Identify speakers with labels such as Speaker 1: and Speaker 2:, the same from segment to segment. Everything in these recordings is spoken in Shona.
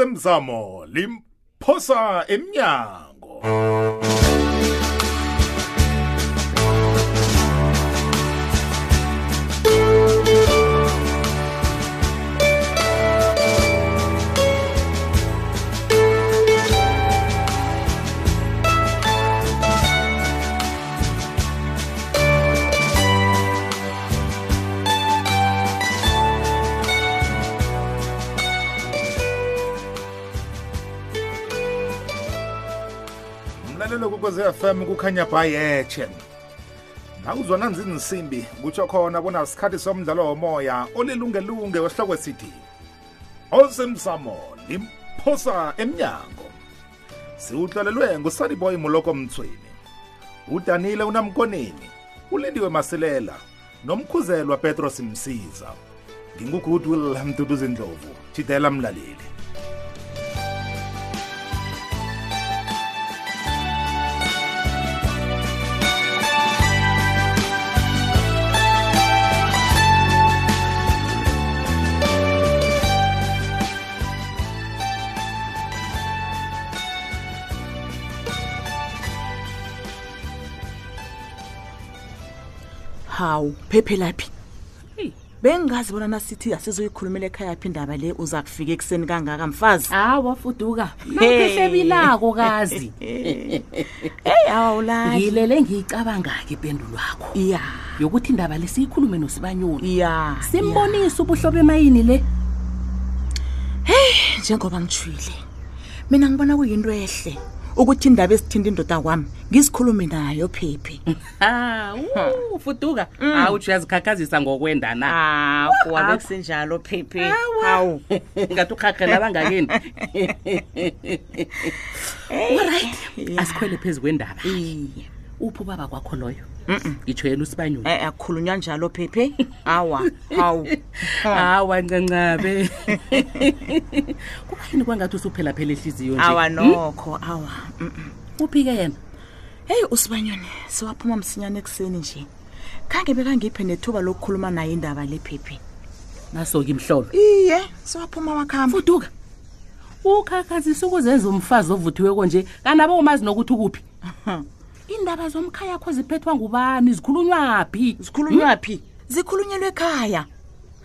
Speaker 1: osemzamo limphosa emnyango mlalelo kokwez fm kukhanya bhayetshe nawuzwa nanzi insimbi kutsho khona bona sikhathi somdlalo womoya olilungelunge wesihloko sithi osemsamo limphosa emnyango siwuhlolelwe ngusaniboy moloko mthweni udanile unamkoneni ulindiwe masilela nomkhuzelwa petros msiza ngingugoodwill mduduzi ndlovu jidela mlaleli
Speaker 2: hawu phephe laphi bengingazi bona nasithi asizoyikhulumela ekhaya phi indaba le uza kufika ekuseni kangaka mfazi
Speaker 3: hawa fuduka
Speaker 2: Hey.
Speaker 3: nakehlebilako kazi
Speaker 2: eyi awawulali
Speaker 3: ngilele ngiyicabanga-ke impendulo yakho
Speaker 2: ya
Speaker 3: yokuthi indaba le siyikhulume nosibanyoni
Speaker 2: ya
Speaker 3: simbonise ubuhlobo emayini le
Speaker 2: ya. njengoba ngijhwile mina ngibona kuyinto ehle ukuthi indaba ezithinta indoda kwami ngizikhulume nayo phephe
Speaker 4: Ah, uh, fuduka hawu nje uyazikhakhazisa ngokwenda na
Speaker 2: akuwabe kusenjalo phephe hawu
Speaker 4: ngathi ukhakhelala ngakeni
Speaker 3: olright
Speaker 4: asikhwele phezu kwendaba
Speaker 2: iye
Speaker 4: uphi ubaba kwakho loyo itsho yena usibanyoni
Speaker 2: e akukhulunywa njalo phephe awa hawu
Speaker 4: hawa ncancabe kuba yini kwangathi usuphelaphela ehliziyo nje Hmm?
Speaker 2: awa nokho awa mm, mm.
Speaker 4: uphi-ke yena
Speaker 2: heyi usibanyoni siwaphuma msinyane ekuseni nje khange bekangiphe nethuba lokukhuluma naye indaba lephephi
Speaker 4: naso-ke imhlolo
Speaker 2: iye siwaphuma wakhamba
Speaker 4: fuduka ukhakhazisa ukuzenza umfazi ovuthiweko nje kanabo umazi nokuthi ukuphi iindaba zomkhaya yakho ziphethwa ngubani zikhulunywa phi Hmm?
Speaker 2: zikhulunyaphi zikhulunyelwe ekhaya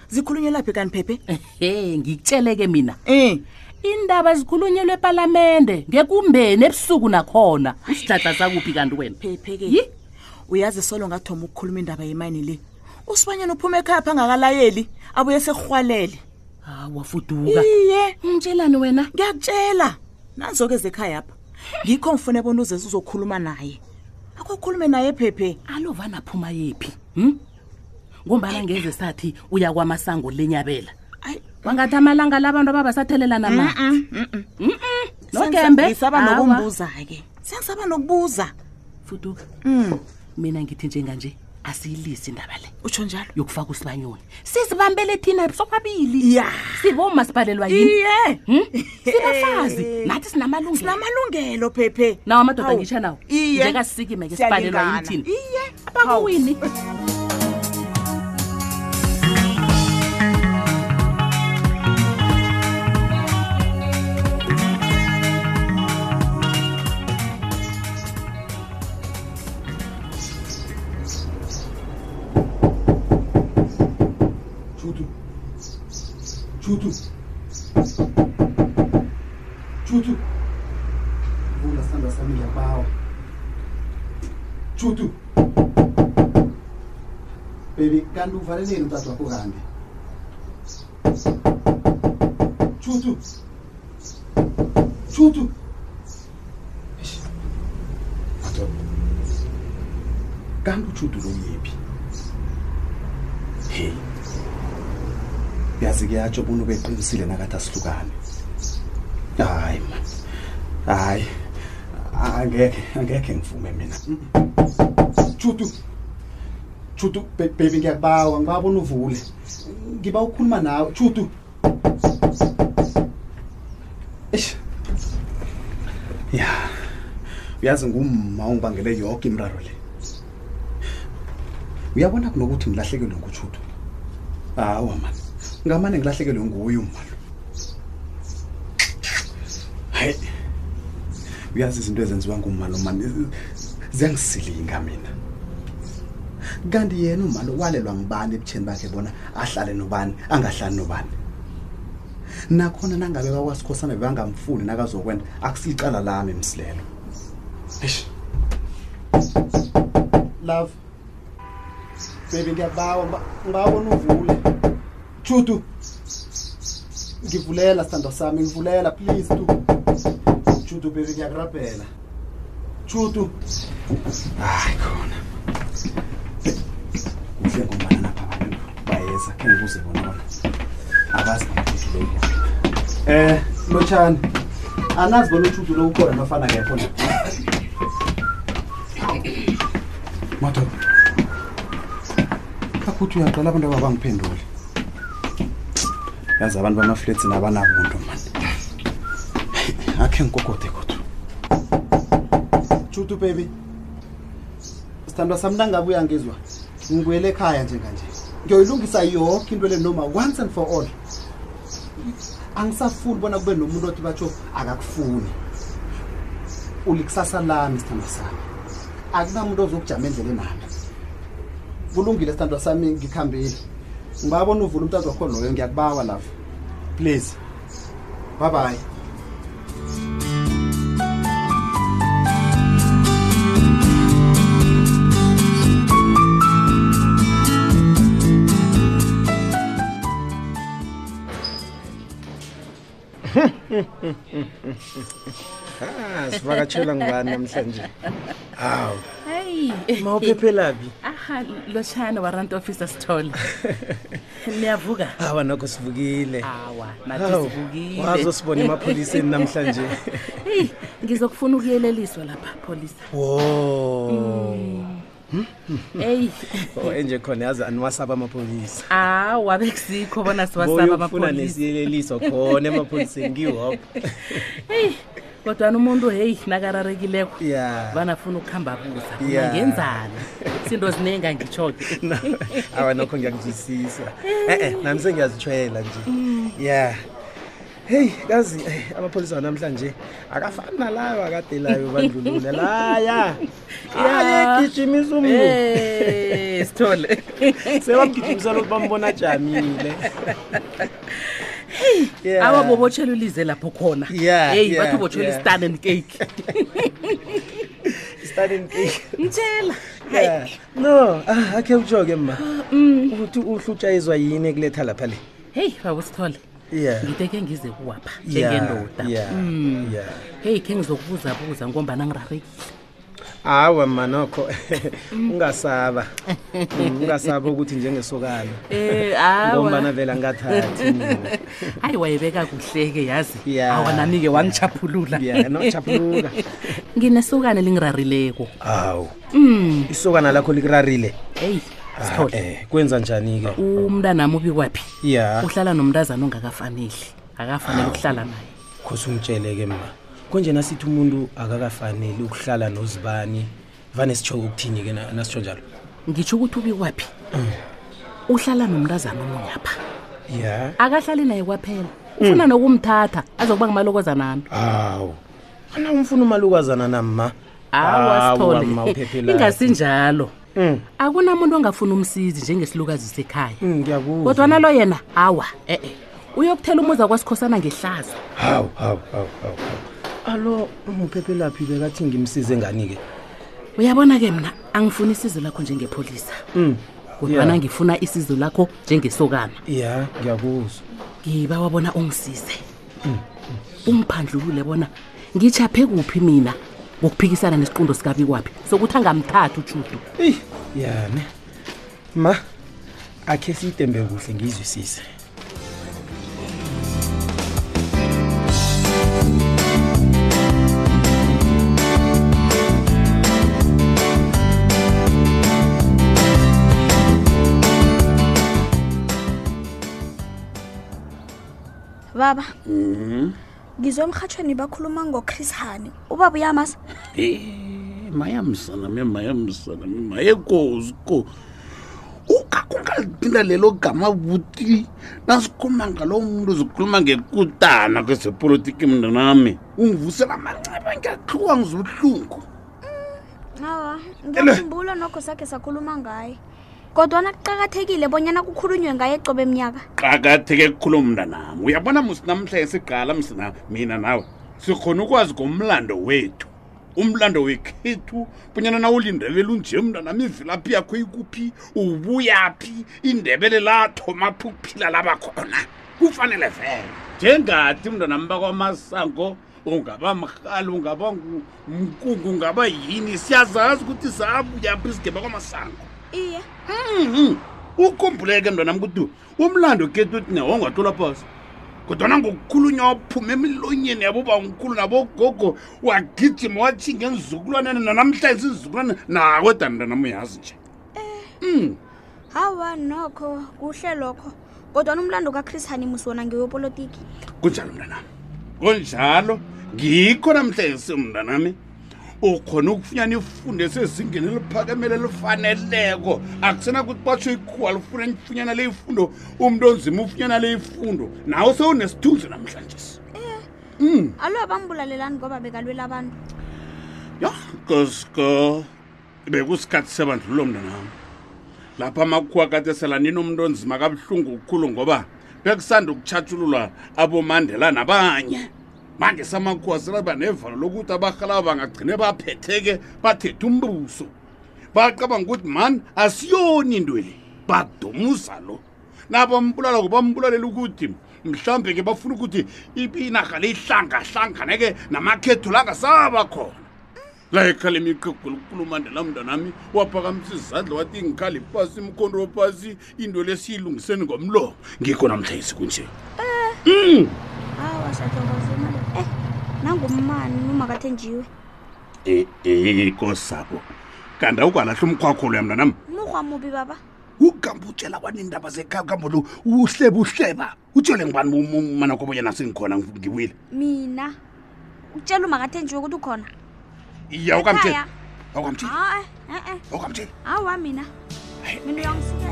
Speaker 2: zikhulunyelaphi kani phephe
Speaker 4: ehe ngikutsheleke mina
Speaker 2: um
Speaker 4: indaba zikhulunyelwe epalamende ngekumbeni ebusuku nakhona isidladla sakuphi kanti wena
Speaker 2: phephe-ke
Speaker 4: Yi.
Speaker 2: uyazi solo ngathoma ukukhuluma indaba yemani le usibanyeni uphuma ekhaya phangakalayeli abuye serhwalele
Speaker 4: hawa fuduka
Speaker 2: iye
Speaker 4: ngitshelani wena
Speaker 2: ngiyakutshela nanzo-ke zekhaya apha ngikho ngifune bona uzeze uzokhuluma naye akho khulume naye phephe
Speaker 4: alovana aphuma yephi um ngombana ngeze sathi uya kwamasango lenyabela
Speaker 2: ayi
Speaker 4: wangathi amalanga labantu ababasathelela namanzi nokembe
Speaker 2: ngisaba
Speaker 4: Awa.
Speaker 2: nokumbuza-ke sengisaba nokubuza
Speaker 4: fuduka
Speaker 2: um
Speaker 4: mina ngithi njenganje asiyilisi indaba le
Speaker 2: utsho njalo
Speaker 4: yokufaka usibanyoni sizibambele thina sobabili
Speaker 2: ya
Speaker 4: siboma sibhalelwa yini
Speaker 2: iye
Speaker 4: Hmm? sibafazi nathi sinamalungelo
Speaker 2: sinamalungelo phephe
Speaker 4: nawo amadoda
Speaker 2: Hawu.
Speaker 4: ngitsha nawo
Speaker 2: Iye.
Speaker 4: njengasisikime ke sibhalelwa
Speaker 2: Siyalingana.
Speaker 4: yithini
Speaker 2: iye Hawu.
Speaker 4: bakuwini
Speaker 5: Chutu. Chutu. Chutu. Vula sandla sami ngiyabawa. Chutu. Baby, kanti uvaleleni umtata wakho kambi? Chutu. Chutu. Eish. Adobe. Kanti uchudu lo yephi? Hey. yazi kuyatsho bona ubeqinisile nakathi asihlukane hayi ma hayi a- angekhe angekhe ngivume mina judu judu bebi ngiyakubawa ngibabona uvule ngiba ukhuluma nawe judu eish ya uyazi ngumma ongibangele yoke imraro le uyabona kunokuthi ngilahlekelwe ngujudu hawa mani ngamane ngilahlekelwe nguye umalo hayi uyazi izinto ezenziwa ngumalomani ziyangisilinga mina kanti yena umalo walelwa ngubani ebutsheni bakhe bona ahlale nobani angahlali nobani nakhona nangabe bakwasikhosana bebangamfuni nakazokwenda akusiyicala lami msilelo eish love baby ngiyabawa ngiba- ngibawona uvule chutu ngivulela sithando sami ngivulela please tu chutu baby ngiyakurabhela chutu hayi khona kuhle ngombana napha abantu bayeza khe ngibuze bona bona abazi ngamajutuloi um lotshani anazi bona utshutu lo ukhona nofana kekho na madoda akuthi uyaqala abantu ababangiphenduli yazi abantu bamafletini abanabuntu mani akhe ngikokode kodwa tshutu baby sithandwa sami nangabuya ngizwa ngibuyele ekhaya njenganje ngiyoyilungisa yonke into le noma once and for all angisafuni bona kube nomuntu othi batsho akakufuni ulikusasa lami sithandwa sami akunamuntu ozokujama endleleni nami kulungile sithandwa sami ngikhambile ngibabona uvula umntazi wakho loyo ngiyakubawa lava please bye bye
Speaker 6: sivakatshela ngubani namhlanje
Speaker 4: hayi
Speaker 6: mawuphephelaphi
Speaker 4: aha lotshana warrant officer sithole niyavuka
Speaker 6: awa nokho sivukile
Speaker 4: awa nathi
Speaker 6: Hawu,
Speaker 4: sivukile
Speaker 6: wazosibona emapholiseni namhlanje
Speaker 4: eyi ngizokufuna ukuyeleliswa lapha pholisa
Speaker 6: wo
Speaker 4: eyi
Speaker 6: Mm. Oh, enje khona yazi aniwasaba amapholisa
Speaker 4: awa bekusikho bona siwasaba
Speaker 6: boyokufuna
Speaker 4: amapholisa
Speaker 6: nesiyeleliso khona emapholiseni kiwop
Speaker 4: eyi kodwana umuntu heyi nakararekileko
Speaker 6: ya
Speaker 4: banafuna ukuhamba buza
Speaker 6: Yeah.
Speaker 4: ngenzana izinto ziningi angitsho-ke
Speaker 6: awa nokho ngiyakuzwisisa e-e nami sengiyazitshwela nje
Speaker 4: Mm.
Speaker 6: ya heyi kazi eh, amapholisa wanamhlanje akafani nalayo akade layo bandlulula laya ayegijimisa umuntu
Speaker 4: Eh, sithole
Speaker 6: sebamgijimisa lokhu bambona jamile Yeah.
Speaker 4: awa bobotshela ulize lapho khona
Speaker 6: Yeah,
Speaker 4: heyi
Speaker 6: yeah,
Speaker 4: bathi ubotshela
Speaker 6: yeah.
Speaker 4: i-stan and cake
Speaker 6: Starting cake.
Speaker 4: mtshela
Speaker 6: Yeah. no ah, akhe utsho-ke ma
Speaker 4: Mm.
Speaker 6: uthi uhlutshayizwa yini ekuletha lapha le
Speaker 4: heyi baba sithole
Speaker 6: Yeah.
Speaker 4: ngiteke ngize kuwapha
Speaker 6: Yeah,
Speaker 4: njengendoda Hmm.
Speaker 6: yeah, yeah.
Speaker 4: heyi khe ngizokubuzabuza ngombana ngirarekile
Speaker 6: awa manokho ungasaba Mm, ungasaba ukuthi njengesokana
Speaker 4: Eh, awa.
Speaker 6: ngombana Hmm. vela ngathathi mina.
Speaker 4: hayi wayebeka kuhle-ke yazi
Speaker 6: Yeah.
Speaker 4: awanami-ke wangichaphulula
Speaker 6: Yeah, nokujaphuluka.
Speaker 4: nginesukane elingirarileko
Speaker 6: awu isokana lakho likurarile
Speaker 4: eyi
Speaker 6: Ah,
Speaker 4: Hmm. sithole
Speaker 6: eh, kwenza njani-ke
Speaker 4: umntanami ubikwaphi
Speaker 6: ya
Speaker 4: uhlala nomntazana ongakafaneli akafanele ukuhlala naye
Speaker 6: khose ungitshele-ke ma konje nasithi umuntu akakafaneli ukuhlala nozibani vane sitsho ukuthini-ke na- nasitsho njalo
Speaker 4: ngitsho ukuthi ubikwaphi uhlala nomntazana omunye apha
Speaker 6: ya
Speaker 4: akahlali naye kwaphela ufuna nokumthatha azokuba ngimalokoza nami
Speaker 6: awu ana umfuna umalukazana nami ma Awa, ma, uphephelaphi.
Speaker 4: ingasinjalo
Speaker 6: Mm.
Speaker 4: akunamuntu ongafuni umsizi njengesilukazi sekhaya
Speaker 6: Mm, ngiyakuzwa
Speaker 4: kodwana lo yena awa e-e uyokuthela umuza kwasikhosana ngehlazo
Speaker 6: hawu hawu hawu hawu hawu. alo umuphepe laphi bekathi ngimsize ngani-ke
Speaker 4: uyabona-ke mna angifuni isizo lakho njengepholisa
Speaker 6: Mm,
Speaker 4: kodwana
Speaker 6: yeah.
Speaker 4: ngifuna isizo lakho njengesokana
Speaker 6: ya ngiyakuzwa
Speaker 4: ngiba wabona ungisize ungiphandlulule bona ngitshaphe kuphi mina ngokuphikisana nesiqundo sikabikwaphi sokuthi angamthathi utshudu
Speaker 6: eyi yane ma akhe siyitembe kuhle ngiyizwisise
Speaker 7: baba ngizwe emhatshweni bakhuluma ngochris hani ubaba uyamasa
Speaker 8: Eh, mayamzana me mayamzana me mayekosi ko U- kakungalithinda lelo gama buti nasikhuluma ngalowo muntu zikhuluma ngekutana kwezepolitiki mntanami ungivusela amanceba ngiyaqhuka ngizobuhlungu
Speaker 7: awa ngiyakhumbula nokho sakhe sakhuluma ngaye kodwana kuqakathekile bonyana kukhulunywe ngaye cobe mnyaka
Speaker 8: qakatheke kukhuluma mntanami uyabona musinamhla esiqala msina mina nawe sikhona ukwazi ngomlando wethu umlando wekhethu bunyana na ulindebele unje mntanami ivilaphi yakho ikuphi ubuyaphi indebele lathoma phi ukuphila laba khona kufanele vele njengathi mntanami bakwamasango ungaba mrhali ungaba ngu- mkungu ungaba yini siyazazi ukuthi sabuyaphi isigeba kwamasango
Speaker 7: iye
Speaker 8: Mhm. ukhumbuleke mntwanam ukuthi umlando kethu uthi newongatlola phasi kodwana ngokukhulunywa waphuma emilonyeni yaboba nkulu nabogogo wagijima watshinga enzukulwaneni nanamhla isizukulwane nakweda mntanam uyazi nje
Speaker 7: hawa nokho kuhle lokho kodwana umlando kachris hanimus wona ngewepolitiki
Speaker 8: kunjalo mntanami kunjalo ngikho namhla esi mntanami ukhona ukufunyana ifunde sezingeni eliphakemele lifaneleko akusenakuthi batsho ikhuwa lifuna lifunyana leyifundo umntu onzima ufunyana leyifundo nawe sewunesithunzi namhlanje
Speaker 7: alo bambulalelani ngoba bekalwela abantu
Speaker 8: ya kosko bekusikhathi sebandlululo mntanam lapha amakhuwa katesela ninomntu onzima kabuhlungu kukhulu ngoba bekusanda ukutshatshululwa abomandela nabanye manje samakhuwa selaba nevalo lokuthi abarhalayo bangagcine baphetheke bathethe umbuso bacabanga ukuthi mani asiyoni intweli badumuza lo nabambulala kubambulalela ukuthi mhlawumbe ke bafuna ukuthi ibinaga leyihlangahlangane-ke namakhetho langasaba khona layikhale imiqego lokukhulumandela mntanami waphakamisa izandla wathi ngikhali phasi imkhondo phasi into lesiyilungiseni ngomlomo ngikho namhlesi kunje
Speaker 7: hawa sadokozimale eh nangumani umakathenjiwe
Speaker 8: ikosabo E, kanti awukalahla umkhwakho loya mntanami
Speaker 7: murhwa mubi baba
Speaker 8: ugamba utshela kwanindaba zekhaya kambo lo uhleba uhleba utshele ngibani manakobonyana sengikhona ngiwile
Speaker 7: mina ukutshela umakathenjiwe ukuthi ukhona
Speaker 8: iya ukamtshela
Speaker 7: Ekhaya.
Speaker 8: awukamtshela
Speaker 7: hae e-e
Speaker 8: awukamtshela
Speaker 7: hawa mina mina uyangisukela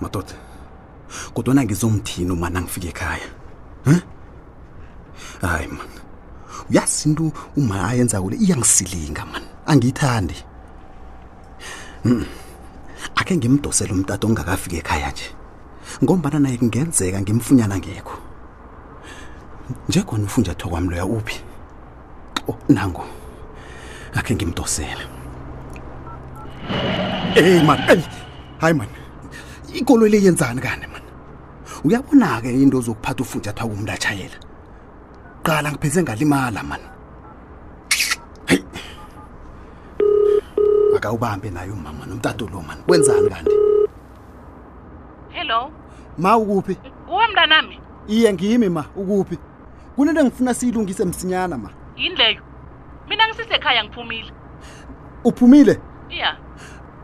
Speaker 5: madoda kodwana ngizomthini uma nangifika ekhaya um hayi man uyazi into uma ayenzako le iyangisilinga man angiyithandi Mm. akhe ngimdosele umtata ongakafika ekhaya nje ngombana naye kungenzeka ngimfunyana ngekho njekhona ufunjathwa kwami loya uphi oh, nango akhe ngimdosele eyi man eyi hayi man ikolo le yenzani kane man uyabona-ke into zokuphatha ufunjathwa kumntu atshayela qala ngiphenze ngalimala man heyi akawubambe naye umama nomtato lo man kwenzani kanti
Speaker 9: hello
Speaker 5: ma ukuphi
Speaker 9: kuwe mntanami
Speaker 5: iye ngimi ma ukuphi kunento engifuna siyilungise msinyana ma
Speaker 9: yini leyo mina ngisisekhaya ngiphumile
Speaker 5: uphumile
Speaker 9: iya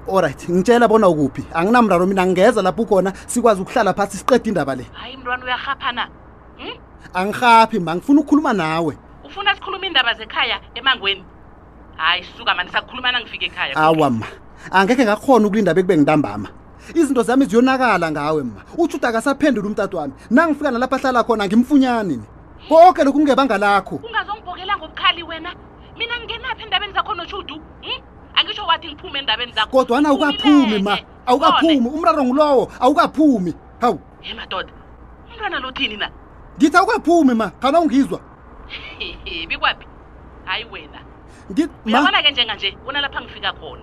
Speaker 5: olright ngitshela bona ukuphi anginamraro mina ngingeza lapho ukhona sikwazi ukuhlala phasi siqede indaba le
Speaker 9: hayi mntwana uyahaphana hm?
Speaker 5: angihaphi ma ngifuna ukukhuluma nawe
Speaker 9: ufuna sikhulume iindaba zekhaya emangweni hayi suka mani sakukhulumana ngifike ekhaya
Speaker 5: awa ma angekhe ngakhona ukulinda bekube ngintambama izinto zami ziyonakala ngawe ma utsho uthi akasaphendula umtata wami nangifika nalapha ahlala khona ngimfunyani ni konke lokhu kungebanga lakho
Speaker 9: ungazongibhokela ngobukhali wena mina ngingenaphi endabeni zakho notshudu hm? angisho wathi ngiphume endabeni zakho
Speaker 5: kodwana awukaphumi ma awukaphumi umraro ngulowo awukaphumi hawu
Speaker 9: ye madoda umntwana lothini na
Speaker 5: ngithi awukaphumi ma khana ungizwa
Speaker 9: bikwaphi hayi wena
Speaker 5: Ngithi- ma
Speaker 9: uyabona-ke njenganje kunalapha ngifika khona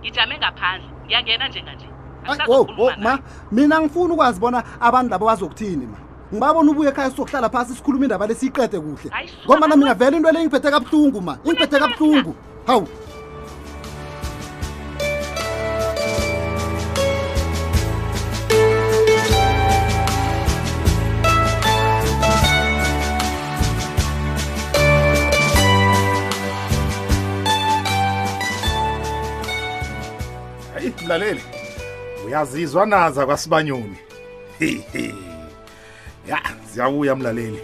Speaker 9: ngijame ngaphandle ngiyangena njenganje
Speaker 5: Ay, wo, wo,
Speaker 9: Angisazokhuluma nawe.
Speaker 5: ma mina ngifuna ukwazi bona abantu laba bazokuthini ma ngibabona ubuye ekhaya sizokuhlala phasi sikhuluma indaba lesiyiqede kuhle
Speaker 9: Hayi, suka,
Speaker 5: ngomana mina
Speaker 9: mama.
Speaker 5: vele into le ingiphethe kabuhlungu ma ingiphethe kabuhlungu hawu
Speaker 1: hayi mlaleli uyazizwa naza kwasibanyoni Hehe. ya ziyabuya mlaleli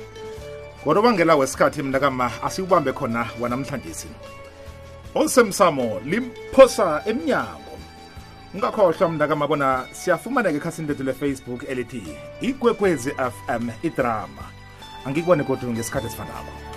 Speaker 1: ngonobangela wesikhathi mna kama asiwubambe khona wanamhlanje osemsamo limphosa emnyango ungakhohlwa mna kama bona siyafumaneka ekhasini lethu lefacebook elithi ikwekwezi fm idrama angikubone kodwa ngesikhathi esifanako